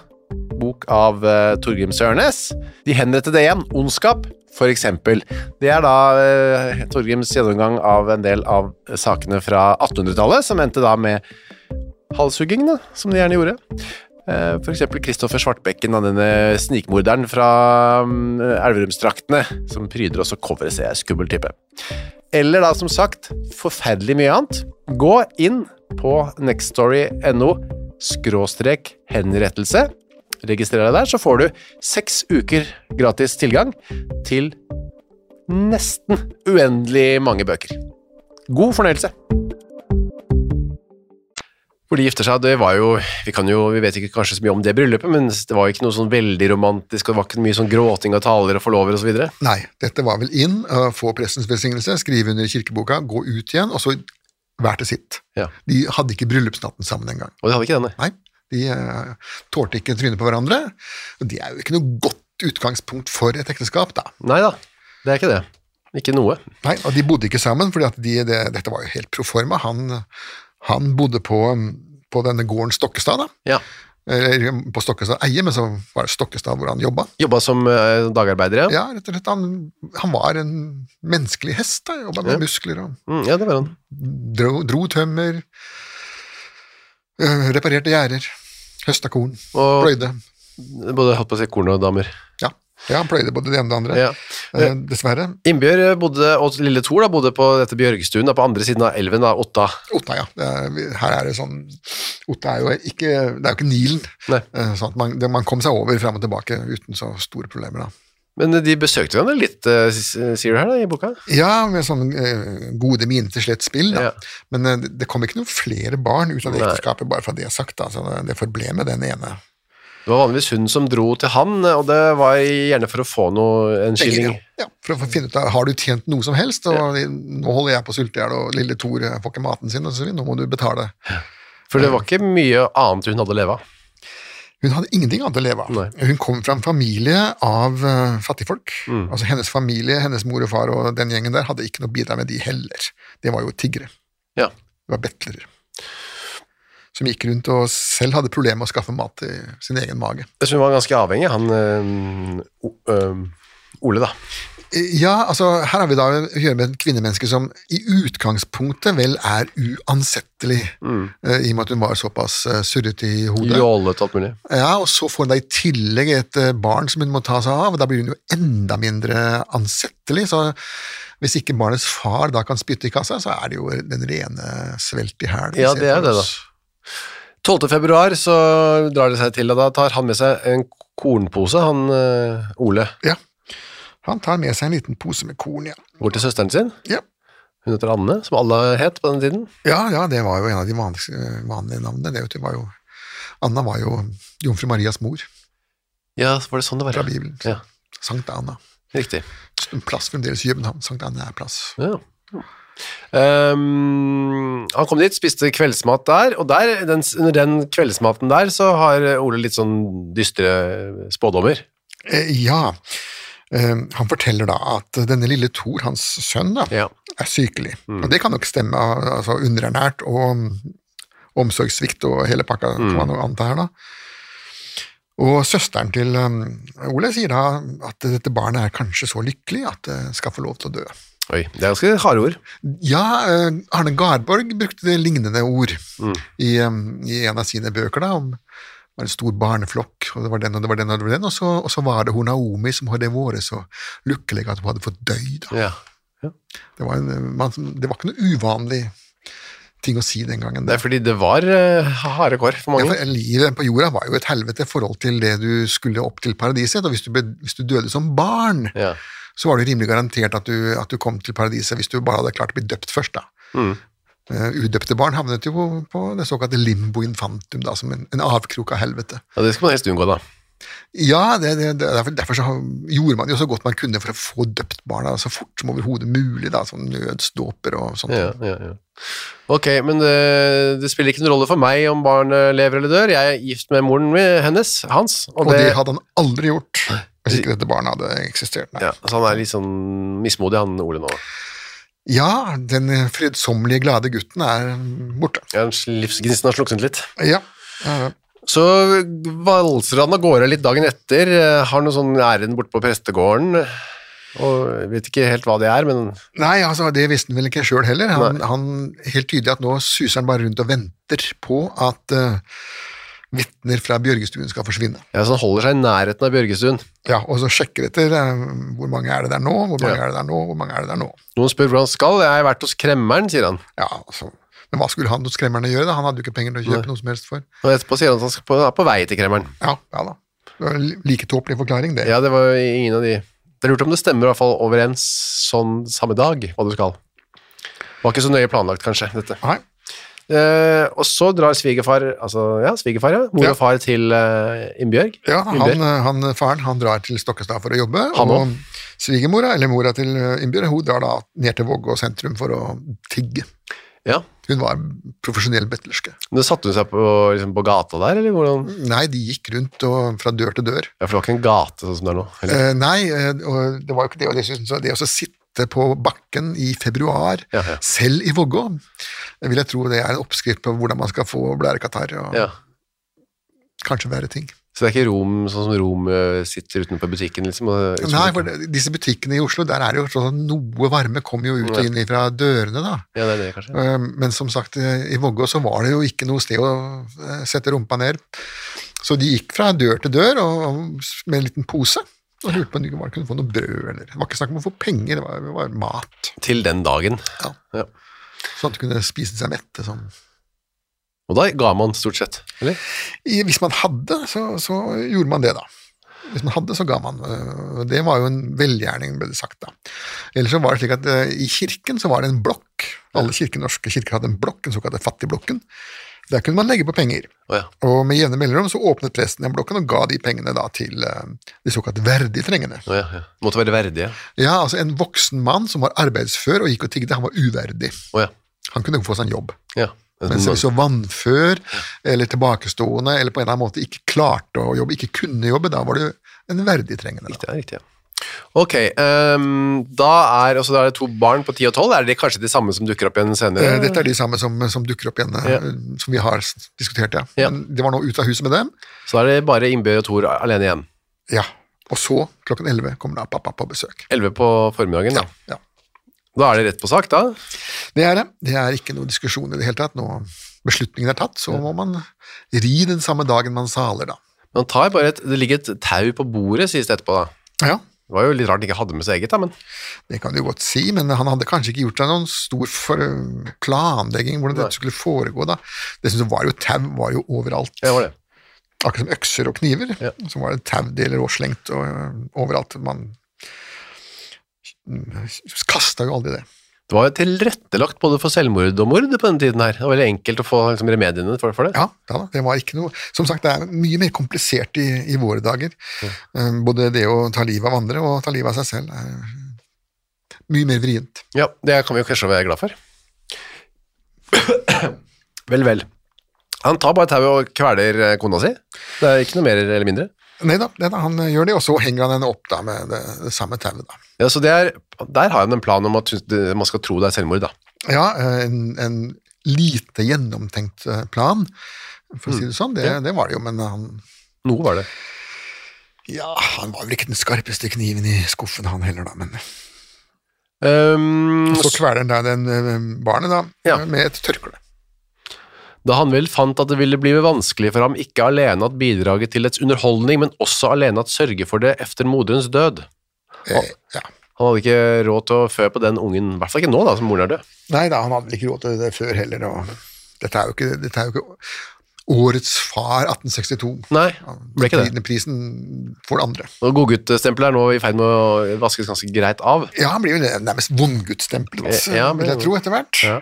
S6: bok av eh, Torgrim Sørnes. De henrettede igjen, ondskap, for eksempel. Det er da eh, Torgrims gjennomgang av en del av sakene fra 1800-tallet, som endte da med halshuggingene, som de gjerne gjorde. Eh, For eksempel Kristoffer Svartbekken, da, denne snikmorderen fra mm, Elverumsdraktene, som pryder også coveret, ser jeg, skummel type. Eller da, som sagt, forferdelig mye annet. Gå inn på nextstory.no skråstrek henrettelse. Registrer deg der, så får du seks uker gratis tilgang til nesten uendelig mange bøker. God fornøyelse! Hvor de gifter seg, det var jo vi, kan jo vi vet ikke kanskje så mye om det bryllupet, men det var jo ikke noe sånn veldig romantisk, og det var ikke mye sånn gråting av taler og forlover og så videre.
S7: Nei, dette var vel inn, øh, få prestens velsignelse, skrive under i kirkeboka, gå ut igjen, og så hver til sitt.
S6: Ja.
S7: De hadde ikke bryllupsnatten sammen engang.
S6: Og de hadde ikke denne.
S7: Nei, de øh, tålte ikke trynet på hverandre. Og det er jo ikke noe godt utgangspunkt for et ekteskap, da.
S6: Nei da, det er ikke det. Ikke noe.
S7: Nei, og de bodde ikke sammen, fordi at de, det, dette var jo helt proforma. Han, han bodde på, um, på denne gården Stokkestad, da.
S6: Ja.
S7: Eller um, på Stokkestad eie, men så var det Stokkestad hvor han jobba.
S6: Jobba som eh, dagarbeider, ja.
S7: Ja, rett og slett. Han, han var en menneskelig hest, da. Jobba med muskler og
S6: Mm, ja, det var han.
S7: dro, dro tømmer. øh, Reparerte gjerder. Høsta korn.
S6: Og-
S7: Pløyde.
S6: Både holdt på å si korn og damer.
S7: Ja. ja, han pløyde både det ene og det andre.
S6: Ja.
S7: Eh, dessverre.
S6: Innbjørg eh, bodde, og lille Thor da, bodde på dette Bjørgstuen, da, på andre siden av elven, da, Otta.
S7: Otta, ja. Det er, vi- her er det sånn Otta er jo ikke, det er jo ikke Nilen.
S6: Nei.
S7: Eh, Sånn at man, det, man kom seg over fram og tilbake uten så store problemer, da.
S6: Men eh, de besøkte henne litt, eh, s- sier du her da, i boka?
S7: Ja, med sånne eh, gode miner til slett spill, da.
S6: Ja.
S7: Men eh, det kom ikke noen flere barn ut av det
S6: Nei.
S7: ekteskapet, bare fra det jeg har sagt, da. Så det- det forble med den ene.
S6: Det var vanligvis hun som dro til han, eh, og det var gjerne for å få noe, en
S7: Ja,
S6: skilling.
S7: ja, for å få finne ut av har du tjent noe som helst, og nå holder jeg på å sulte i hjel, og lille Tor eh, får ikke maten sin, og så videre, nå må du betale.
S6: For det var ikke mye annet hun hadde å leve av.
S7: Hun hadde ingenting annet å leve av.
S6: Nei. Mm.
S7: Hun kom fra en familie av eh, fattigfolk. Altså Hennes familie, hennes mor og far og den gjengen der hadde ikke noe å bidra med, de heller. Det var jo tiggere.
S6: Ja.
S7: Det var betlere. Som gikk rundt og selv hadde problemer med å skaffe mat til sin egen mage.
S6: Jeg synes hun var ganske avhengig, han eh, O- eh, Ole, da.
S7: Eh, Ja, altså Her har vi da å gjøre med et kvinnemenneske som i utgangspunktet vel er uansettelig,
S6: Mm.
S7: eh, i og med at hun var såpass eh, surrete i hodet.
S6: Jålet og alt mulig.
S7: Ja, og så får hun da i tillegg et eh, barn som hun må ta seg av, og da blir hun jo enda mindre ansettelig. Så hvis ikke barnets far da kan spytte i kassa, så er det jo den rene svelt i hælen. vi
S6: Ja,
S7: ser
S6: det er
S7: for
S6: det da.
S7: oss.
S6: 12. februar så drar det seg til, og da tar han med seg en kornpose, han eh, Ole,
S7: Ja. Han tar med seg en liten pose med korn, ja.
S6: går til søsteren sin.
S7: Ja,
S6: Hun heter Anne, som alle het på den tiden.
S7: ja, ja det var jo en av de vanlige, vanlige navnene. Det vet du, var jo, Anna var jo jomfru Marias mor
S6: Ja, var det sånn det var?
S7: fra
S6: ja?
S7: Bibelen.
S6: Ja,
S7: Sankt Anna.
S6: riktig.
S7: En Plass fremdeles i København. Sankt Anna er plass.
S6: Ja. Ehm, han kom dit, spiste kveldsmat der, og der, den, under den kveldsmaten der så har Ole litt sånn dystre spådommer.
S7: Eh, ja. Eh, han forteller da at denne lille Thor, hans sønn, da,
S6: Ja.
S7: er sykelig. Og det kan nok stemme. al- altså Underernært og mm, omsorgssvikt og hele pakka, kan man jo anta her, da. Og søsteren til eh, Ole sier da at dette barnet er kanskje så lykkelig at det skal få lov til å dø.
S6: Oi, det er ganske harde ord.
S7: Ja, eh, Arne Garborg brukte det lignende ord
S6: Mm.
S7: i, eh, i en av sine bøker. da, om det var en stor barneflokk, og det var den og det var den, og det var den, og så, og så var det hun Naomi som hadde vært så lykkelig at hun hadde fått døy. Da.
S6: Ja.
S7: Det, var en, eh, man, det var ikke noe uvanlig ting å si den gangen.
S6: Det er fordi det var eh, harde kår for
S7: Ja,
S6: mange.
S7: for livet på jorda var jo et helvete i forhold til det du skulle opp til paradiset, og hvis du, ble, hvis du døde som barn,
S6: Ja.
S7: så var det rimelig garantert at du, at du kom til paradiset hvis du bare hadde klart å bli døpt først, da.
S6: Mm.
S7: Eh, udøpte barn havnet jo på, på det såkalte limbo infantum, da, som en, en avkrok av helvete.
S6: ja, det skal man helst unngå, da.
S7: Ja, det, det, det, derfor, derfor så har- gjorde man jo så godt man kunne for å få døpt barna så fort som overhodet mulig, da, sånn nødsdåper og sånt.
S6: Ja, ja, ja. Ok, men eh, det, det spiller ikke noen rolle for meg om barnet lever eller dør. Jeg er gift med moren min, hennes, hans, og
S7: Og
S6: det,
S7: det hadde han aldri gjort hvis ikke dette barnet hadde eksistert. Nei.
S6: ja, så han er litt sånn mismodig, han Ole nå.
S7: Ja, den fredsommelige, glade gutten er borte.
S6: Ja, Livsgnisten har sluknet litt.
S7: Ja, eh,
S6: Så valser han av gårde litt dagen etter, eh, har noe sånn ærend borte på prestegården, og jeg vet ikke helt hva det er, men
S7: Nei, altså, det visste han vel ikke sjøl heller. Han, han, helt tydelig at nå suser han bare rundt og venter på at eh, vitner fra Bjørgestuen skal forsvinne.
S6: Ja, så han holder seg i nærheten av Bjørgestuen.
S7: Ja, Og så sjekker etter eh, hvor mange er det der nå, hvor mange
S6: Ja.
S7: er det der nå, hvor mange er det der nå.
S6: Noen spør hvordan skal, jeg har vært hos kremmeren, sier han.
S7: Ja, altså. Men hva skulle han hos skremmerne gjøre? da? Han hadde jo ikke penger til å kjøpe noe som helst for.
S6: Og etterpå sier han at han skal på, er på vei til kremmeren.
S7: Ja, ja da. Det var en li- Like tåpelig forklaring, det.
S6: Ja, det var jo ingen av de. Det er lurt om det stemmer i hvert fall overens sånn samme dag, hva du skal. Var ikke så nøye planlagt, kanskje, dette.
S7: Nei.
S6: Eh, og så drar svigerfar, altså ja, svigerfar, ja, mor
S7: Ja.
S6: og far til eh, Innbjørg.
S7: Ja, han,
S6: Innbjørg.
S7: han, faren han drar til Stokkestad for å jobbe,
S6: Han
S7: og svigermora, eller mora til eh, Innbjørg, hun drar da ned til Vågå sentrum for å tigge.
S6: Ja.
S7: Hun var profesjonell betlerske.
S6: Men satte hun seg på, liksom, på gata der, eller hvordan?
S7: Nei, de gikk rundt og, fra dør til dør.
S6: Ja, for det var ikke en gate sånn som det er nå. Eller?
S7: Eh, nei, eh, og det var jo ikke det, og dessuten så det å så sitte på bakken i februar,
S6: Ja, ja.
S7: selv i Vågå, vil jeg tro det er en oppskrift på hvordan man skal få blærekatarr og
S6: Ja.
S7: kanskje verre ting.
S6: Så det er ikke rom, sånn som rom eh, sitter utenfor butikken, liksom? Og,
S7: Nei, for det- disse butikkene i Oslo, der er det jo sånn at noe varme kommer jo ut og inn fra dørene, da.
S6: Ja, det er det, kanskje.
S7: Eh, Men som sagt, eh, i Vågå så var det jo ikke noe sted å eh, sette rumpa ned. Så de gikk fra dør til dør og, og s- med en liten pose. Og lurte på om de bare kunne få noe brød. Eller. Det var ikke snakk om å få penger, det var, det var mat.
S6: Til den dagen.
S7: Ja.
S6: Ja.
S7: Sånn at de kunne spise seg mette. Sånn.
S6: Og da ga man stort sett, eller?
S7: I- Hvis man hadde, så, så gjorde man det, da. Hvis man hadde, så ga man. øh, Det var jo en velgjerning, ble det sagt da. Ellers så var det slik at øh, i kirken så var det en blokk. Alle kirker, norske kirker hadde en blokk, den såkalte fattigblokken. Der kunne man legge på penger.
S6: Å ja.
S7: Og med jevne mellomrom så åpnet presten den blokken og ga de pengene da til øh, de såkalt verdig trengende.
S6: Å, ja, ja. Måtte være verdige.
S7: Ja, altså en voksen mann som var arbeidsfør og gikk og tigde, han var uverdig.
S6: Å ja.
S7: Han kunne ikke få seg en jobb.
S6: ja.
S7: Men så, så vannfør eller tilbakestående eller på en eller annen måte ikke klarte å jobbe, ikke kunne jobbe, da var du en verdig trengende. Da.
S6: Riktig, ja, riktig, ja. Ok, ehm, da er, og så da er det to barn på 10 og 12, er det kanskje de samme som dukker opp igjen senere?
S7: Eh, Dette er de samme som, som dukker opp igjen, eh,
S6: Ja.
S7: som vi har s- diskutert, ja.
S6: Ja.
S7: Men de var nå ute av huset med dem.
S6: Så da er det bare Ingebjørg og Tor alene igjen.
S7: Ja. Og så, klokken 11, kommer da pappa på besøk.
S6: 11 på formiddagen, da.
S7: Ja.
S6: Da er det rett på sak, da.
S7: Det er det. Det er ikke noe diskusjon i det hele tatt. Når beslutningen er tatt, så må man ri den samme dagen man saler, da.
S6: Man tar bare et, det ligger et tau på bordet, sies det etterpå, da.
S7: Ja,
S6: Det var jo litt rart han ikke hadde med seg eget, da, men
S7: det kan du godt si, men han hadde kanskje ikke gjort seg noen stor for eh, planlegging hvordan dette skulle foregå, da. Dessuten var jo tau var jo overalt.
S6: ja, det var det.
S7: Akkurat som økser og kniver, så var det taudeler og slengt og, ø, overalt. Man kasta jo aldri det.
S6: Det var jo tilrettelagt både for selvmord og mord på denne tiden her. Det var veldig enkelt å få liksom, remediene for, for det.
S7: Ja, ja da, det var ikke noe Som sagt, det er mye mer komplisert i, i våre dager. Eh, Både det å ta livet av andre og ta livet av seg selv er mye mer vrient.
S6: Ja, det kan vi jo kanskje være glad for. vel, vel. Han tar bare tauet og kveler eh, kona si. Det er ikke noe mer eller mindre.
S7: Nei da, nei da, han eh, gjør det, og så henger han henne opp da med det, det samme tauet. da.
S6: Ja, så det er, Der har han en plan om at hun- det- man skal tro det er selvmord, da.
S7: Ja, eh, en, en lite gjennomtenkt eh, plan, for å si det sånn. Det, det var det jo, men han
S6: Noe var det.
S7: Ja, han var vel ikke den skarpeste kniven i skuffen, han heller, da, men
S6: Ehm,
S7: Så kveler han da den eh, barnet, da,
S6: Ja.
S7: med et tørkle.
S6: da han vel fant at det ville bli vanskelig for ham ikke alene at bidraget til dets underholdning, men også alene at sørge for det efter moderens død.
S7: Eh, ja.
S6: Han hadde ikke råd til å fø på den ungen, i hvert fall ikke nå, da, som moren er død.
S7: Nei da, han hadde vel ikke råd til det før heller, og dette er jo ikke, dette er jo ikke årets far 1862.
S6: Nei, ble ikke det.
S7: Prisen- Prisen for det andre.
S6: Og Godgutt-stempelet er nå i ferd med å vaskes ganske greit av.
S7: Ja, han blir jo nærmest vondgudsstemplet,
S6: Ja, men-
S7: vil jeg tro, etter hvert.
S6: Ja.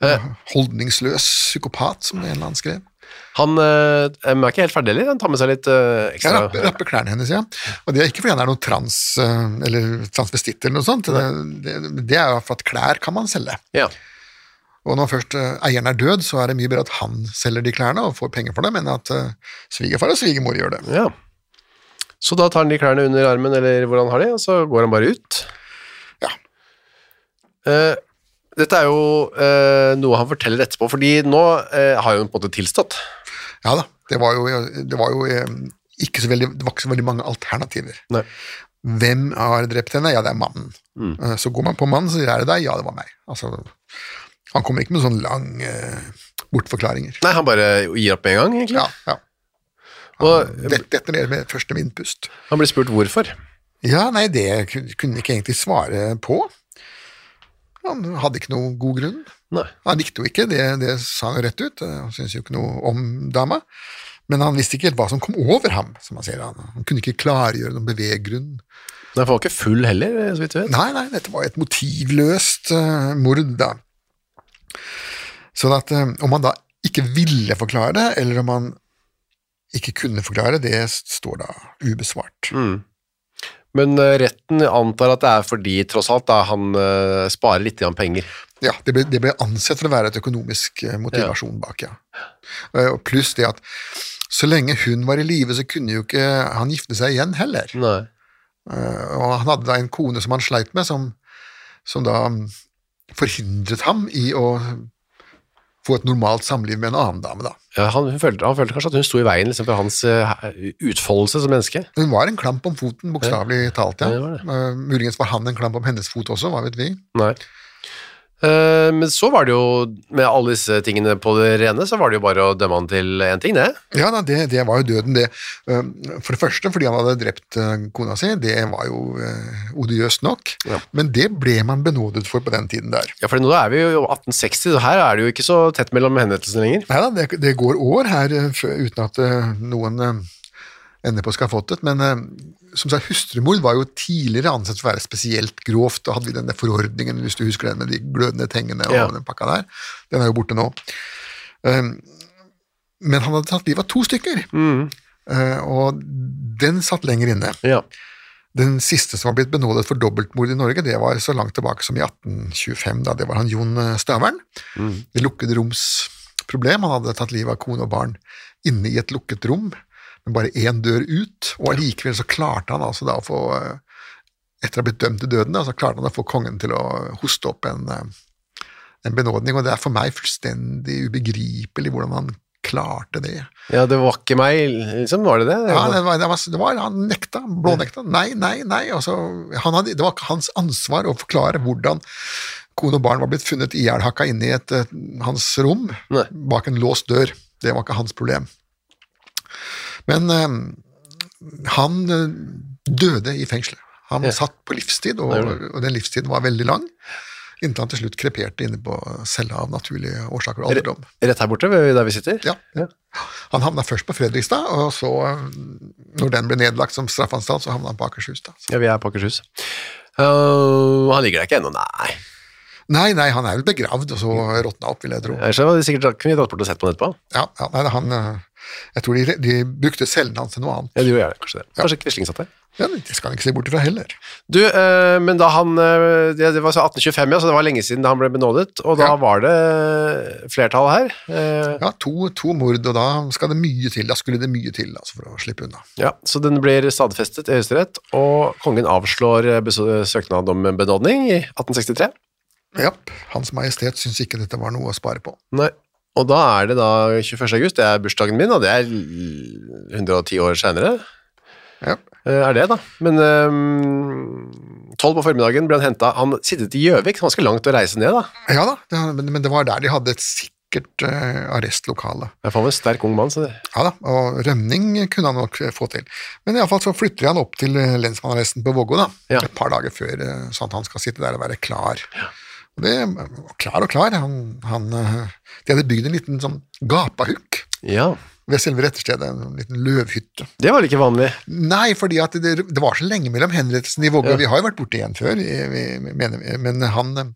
S6: Eh,
S7: Holdningsløs psykopat, som en eller annen skrev.
S6: Han øh, er ikke helt ferdig, eller? Han tar med seg litt øh,
S7: Jeg
S6: ekstra
S7: rapper, rapper klærne hennes, ja. Og det er ikke fordi han er noen trans, eh, eller transvestitt eller noe sånt. Det, det, det er jo for at klær kan man selge.
S6: Ja.
S7: Og når først eh, eieren er død, så er det mye bedre at han selger de klærne og får penger for dem, enn at eh, svigerfar og svigermor gjør det.
S6: ja. Så da tar han de klærne under armen, eller hvor han har de, og så går han bare ut.
S7: Ja.
S6: Eh, dette er jo eh, noe han forteller etterpå, fordi nå eh, har jo han på en måte tilstått.
S7: Ja da, det var jo, det var jo eh, ikke så veldig, det var ikke så veldig mange alternativer.
S6: Nei.
S7: Hvem har drept henne? Ja, det er mannen. Eh, Så går man på mannen, så sier er det deg? Ja, det var meg. Altså, han kommer ikke med sånne lange sånn eh, bortforklaringer.
S6: Nei, han bare gir opp med en gang, egentlig.
S7: Ja, ja.
S6: Og
S7: Dette dette ned med første med innpust.
S6: han blir spurt hvorfor.
S7: Ja, nei, det kun- kunne han ikke egentlig svare på. Han hadde ikke noe god grunn.
S6: Nei.
S7: Han likte jo ikke, det, det sa han jo rett ut. Han syntes jo ikke noe om dama. Men han visste ikke helt hva som kom over ham, som han sier. Han, han kunne ikke klargjøre noen beveggrunn.
S6: Nei, for han var ikke full heller, eh, så vidt vi vet.
S7: Nei, nei, dette var et motivløst eh, mord, da. Sånn at eh, om han da ikke ville forklare det, eller om han ikke kunne forklare det, det står da ubesvart.
S6: Mm. Men eh, retten antar at det er fordi, tross alt, da han eh, sparer litt grann penger.
S7: Ja, det ble, det ble ansett for å være et økonomisk eh, motivasjon bak, ja. Eh, og Pluss det at så lenge hun var i live, så kunne jo ikke han gifte seg igjen heller.
S6: Nei.
S7: Eh, Og han hadde da en kone som han sleit med, som, som da mm, forhindret ham i å få et normalt samliv med en annen dame, da.
S6: Ja, han, hun følte, han følte kanskje at hun sto i veien liksom, for hans eh, utfoldelse som menneske.
S7: Hun var en klamp om foten, bokstavelig talt, ja.
S6: Ja, det var det.
S7: Eh, muligens var han en klamp om hennes fot også, hva vet vi.
S6: Nei. Eh, men så var det jo, med alle disse tingene på det rene, så var det jo bare å dømme han til én ting, det.
S7: Ja, da, det, det var jo døden, det. Eh, For det første fordi han hadde drept eh, kona si, det var jo eh, odiøst nok,
S6: Ja.
S7: men det ble man benådet for på den tiden der.
S6: Ja, for nå er vi jo 1860, så her er det jo ikke så tett mellom henrettelsene lenger.
S7: Nei da, det, det går år her eh, fø- uten at eh, noen eh, ender på skafottet, men eh, som sagt, hustrumord var jo tidligere ansett for å være spesielt grovt. Da hadde vi denne forordningen, hvis du husker den med de glødende tengene og
S6: Ja.
S7: den pakka der. Den er jo borte nå. Eh, Men han hadde tatt livet av to stykker, Eh, og den satt lenger inne.
S6: Ja.
S7: Den siste som var blitt benådet for dobbeltmord i Norge, det var så langt tilbake som i 1825. da Det var han Jon Stavern. Det lukkede roms problem. Han hadde tatt livet av kone og barn inne i et lukket rom, med bare én dør ut. Og allikevel så klarte han altså da å få eh, Etter å ha blitt dømt til døden, da, så klarte han å få kongen til å hoste opp en, eh, en benådning. Og det er for meg fullstendig ubegripelig hvordan han klarte det.
S6: ja, det var ikke meg, liksom, var det det?
S7: Ja, det var, det var, det var, han nekta, blånekta. Nei, nei, nei. Altså, han hadde, det var ikke hans ansvar å forklare hvordan kone og barn var blitt funnet ihjelhakka inne i et, eh, hans rom
S6: Nei.
S7: bak en låst dør. Det var ikke hans problem. Men eh, han eh, døde i fengselet. Han satt på livstid, og,
S6: Det gjorde
S7: og den livstiden var veldig lang. Inntil han til slutt kreperte inne på cella av naturlige årsaker og alderdom.
S6: Rett her borte, ved- der vi sitter?
S7: Ja. Han havna først på Fredrikstad, og så, eh, når den ble nedlagt som straffanstalt, så havna han på Akershus. da. Så-
S6: Ja, vi er på Akershus. Øh, han ligger der ikke ennå, nei.
S7: Nei, nei, han er vel begravd, og så råtna opp, vil jeg tro.
S6: Ellers hadde vi sikkert kunne vi dratt bort og sett på den etterpå.
S7: Ja, ja, nei, han, eh, jeg tror de, de brukte cellene hans til noe annet.
S6: Ja, det gjør jeg, kanskje det. Kanskje Quisling satt der.
S7: Ja, det skal han ikke se bort ifra heller.
S6: Du, øh, men da han øh, Det, det var så 1825, ja, så det var lenge siden da han ble benådet, og da
S7: Ja.
S6: var det øh, flertall her. Eh,
S7: Ja, to, to mord, og da skal det mye til. Da skulle det mye til altså, for å slippe unna.
S6: Ja, så den blir stadfestet i Høyesterett, og kongen avslår eh, besø- søknad om benådning i 1863.
S7: Ja, Hans Majestet syns ikke dette var noe å spare på.
S6: Nei. Og da er det da 21. august, det er bursdagen min, og det er l- 110 år seinere.
S7: Ja.
S6: Er det, da. Men ehm, 12 på formiddagen ble han henta Han sittet i Gjøvik, så ganske langt å reise ned, da.
S7: Ja da, det, men, men det var der de hadde et sikkert eh, arrestlokale.
S6: Jeg får en sterk ung mann, så det
S7: Ja da, og rømning kunne han nok eh, få til. Men iallfall så flytter han opp til eh, lensmannsarresten på Vågå da,
S6: Ja.
S7: et par dager før, eh, sånn at han skal sitte der og være klar. Og det, klar og klar, han, han eh, De hadde bygd en liten sånn gapahuk
S6: Ja.
S7: ved selve retterstedet, en sånn liten løvhytte.
S6: Det var vel ikke vanlig.
S7: Nei, fordi at det, det var så lenge mellom henrettelsen i Vågå. Vi har jo vært borte igjen før, eh, vi mener, vi. men han eh,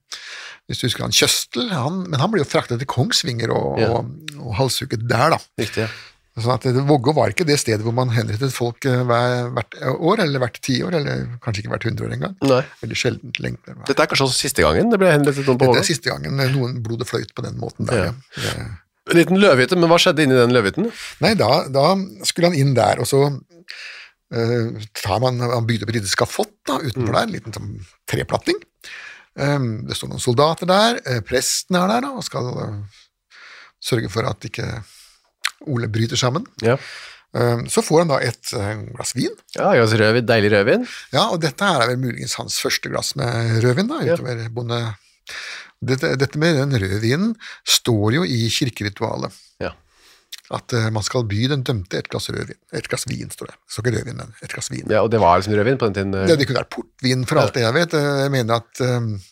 S7: hvis du husker han Kjøstel, han, men han ble jo fraktet til Kongsvinger og,
S6: Ja.
S7: og, og halshugget der, da.
S6: Riktig. ja.
S7: Sånn at det- Vågå var ikke det stedet hvor man henrettet folk eh, hver, hvert år, eller hvert tiår, eller kanskje ikke hvert hundreår engang.
S6: Nei.
S7: Veldig sjeldent lenge.
S6: Dette er kanskje også siste gangen det ble henrettet noen på
S7: Dette er
S6: Vågå.
S7: siste gangen noen blodet fløyt på den måten
S6: Ja.
S7: der. ja. Det-
S6: En liten løvhytte, men hva skjedde inni den løvhytten?
S7: Nei, da, da skulle han inn der, og så eh, tar man, han bygde opp et lite skafott da,
S6: Mm.
S7: utenfor der, en liten sånn treplatning. Eh, det står noen soldater der, eh, presten er der da, og skal eh, sørge for at ikke Ole bryter sammen.
S6: Ja.
S7: Eh, så får han da et eh, glass vin,
S6: Ja, Jøss rødvin, deilig rødvin.
S7: Ja, og dette her er vel muligens hans første glass med rødvin, da, utover bonde... Dette, dette med den rødvinen står jo i kirkeritualet.
S6: Ja.
S7: at eh, man skal by den dømte et glass rødvin. Et glass vin, står det. Så ikke rødvin, men et glass vin.
S6: Ja, og det var liksom rødvin på den tiden?
S7: Det, det kunne vært portvin, for alt det jeg vet. Eh, Jeg mener at, eh,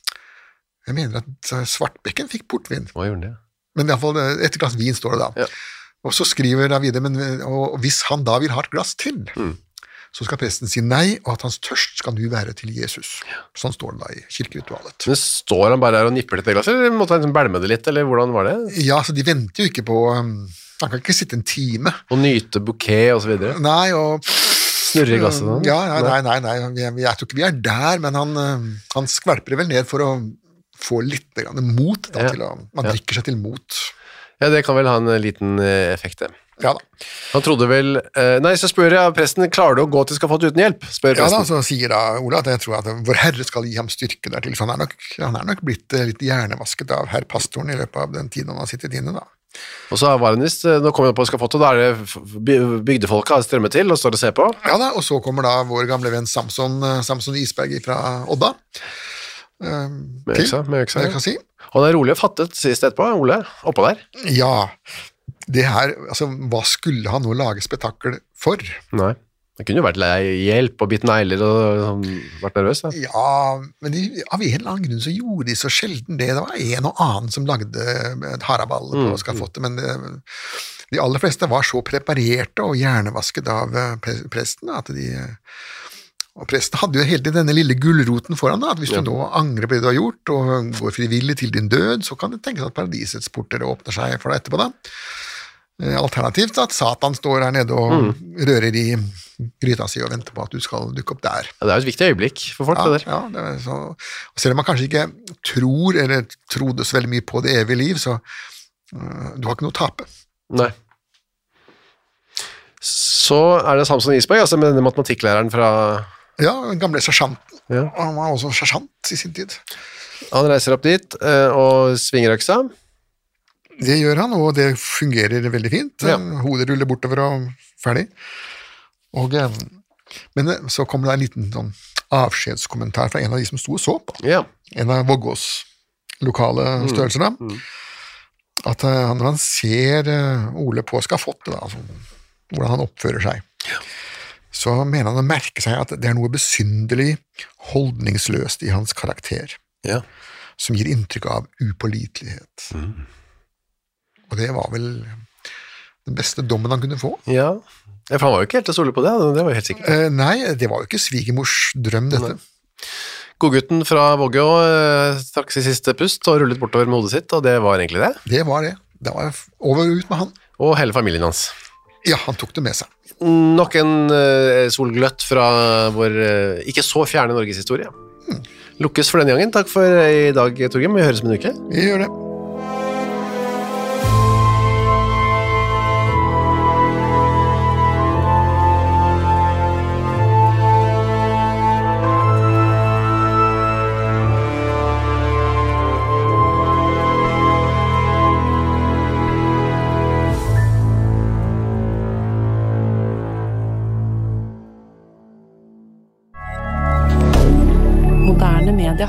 S7: jeg mener at eh, Svartbekken fikk portvin,
S6: Hva gjorde den det?
S7: men iallfall eh, et glass vin står det da.
S6: Ja.
S7: Og så skriver da videre, men eh, og hvis han da vil ha et glass til,
S6: Mm.
S7: så skal presten si nei, og at hans tørst skal nu være til Jesus. Sånn står det da i kirkeritualet.
S6: Men Står han bare der og nipper dette glasset, eller måtte han liksom bælme det litt, eller hvordan var det?
S7: Ja, så de venter jo ikke på um, Han kan ikke sitte en time.
S6: Å nyte bouquet og så videre?
S7: Nei, og um,
S6: Snurre i glasset sånn?
S7: Ja, ja, nei, nei, nei. vi er- vi- Jeg tror ikke vi er der, men han, eh, han skvelper vel ned for å få litt grann mot. Da,
S6: Ja.
S7: til å, man
S6: Ja.
S7: drikker seg til mot.
S6: Ja, det kan vel ha en liten eh, effekt, det.
S7: Ja da.
S6: Han trodde vel eh, Nei, så spør jeg presten, klarer du å gå til skafott uten hjelp? Spør
S7: Ja da, altså. Så
S6: presten.
S7: sier da Ola at jeg tror at Vår Herre skal gi ham styrke dertil. Så han er nok, han er nok blitt eh, litt hjernevasket av herr pastoren i løpet av den tiden han har sittet inne, da.
S6: og så var han visst eh, Nå kommer han på skafottet, og da er det f- by- bygdefolka har strømmet til og står og ser på.
S7: Ja da, og så kommer da vår gamle venn Samson, eh, Samson Isberg fra Odda. eh,
S6: Med
S7: til,
S6: øksa, med øksa,
S7: det
S6: ja.
S7: jeg kan si.
S6: Og det er rolig og fattet sist etterpå. Ole, oppå der.
S7: Ja, det her, altså, hva skulle han nå lage spetakkel for?
S6: Nei. Han kunne jo vært lei hjelp og bitt negler og sånn, vært nervøs. Da.
S7: Ja, men de, av en eller annen grunn så gjorde de så sjelden det. Det var en og annen som lagde et haraball på skafottet, men det, de aller fleste var så preparerte og hjernevasket av eh, pre- presten at de eh, og Presten hadde jo hele tiden denne lille gulroten foran deg, at hvis du nå angrer på det du har gjort, og går frivillig til din død, så kan det tenkes at paradisets porter åpner seg for deg etterpå, da. Eh, Alternativt at Satan står her nede og rører i gryta si og venter på at du skal dukke opp der.
S6: Ja, det er jo et viktig øyeblikk for folk, det der.
S7: Ja, det er så, og selv om man kanskje ikke tror eller trodde så veldig mye på det evige liv, så øh, du har ikke noe å tape.
S6: Nei. Så er det Samson Isberg, altså med denne matematikklæreren fra
S7: Ja, den gamle sersjanten.
S6: Ja.
S7: og Han var også sersjant i sin tid.
S6: Han reiser opp dit eh, og svinger øksa.
S7: Det gjør han, og det fungerer veldig fint.
S6: Ja.
S7: Hodet ruller bortover og ferdig. Og, øh, men øh, så kommer det en liten sånn avskjedskommentar fra en av de som sto og så på.
S6: Ja.
S7: en av Vågås lokale størrelser, da. At eh, når han ser eh, Ole på skafottet, da, altså, hvordan han oppfører seg, så mener han å merke seg at det er noe besynderlig holdningsløst i hans karakter,
S6: ja.
S7: som gir inntrykk av upålitelighet. Og det var vel den beste dommen han kunne få.
S6: Ja. Ja, For han var jo ikke helt til å stole på det, det var jo helt sikkert.
S7: Eh, nei, det var jo ikke svigermors drøm, dette.
S6: Godgutten fra Vågå eh, trakk sitt siste pust og rullet bortover med hodet sitt, og det var egentlig det.
S7: Det var det. Da var det f- over og ut med han.
S6: Og hele familien hans.
S7: Ja, han tok det med seg.
S6: Nok en eh, solgløtt fra vår eh, ikke så fjerne norgeshistorie. Lukkes for denne gangen. Takk for eh, i dag, Torgrim. Vi høres om en uke.
S7: Vi gjør det.
S8: Moderne media.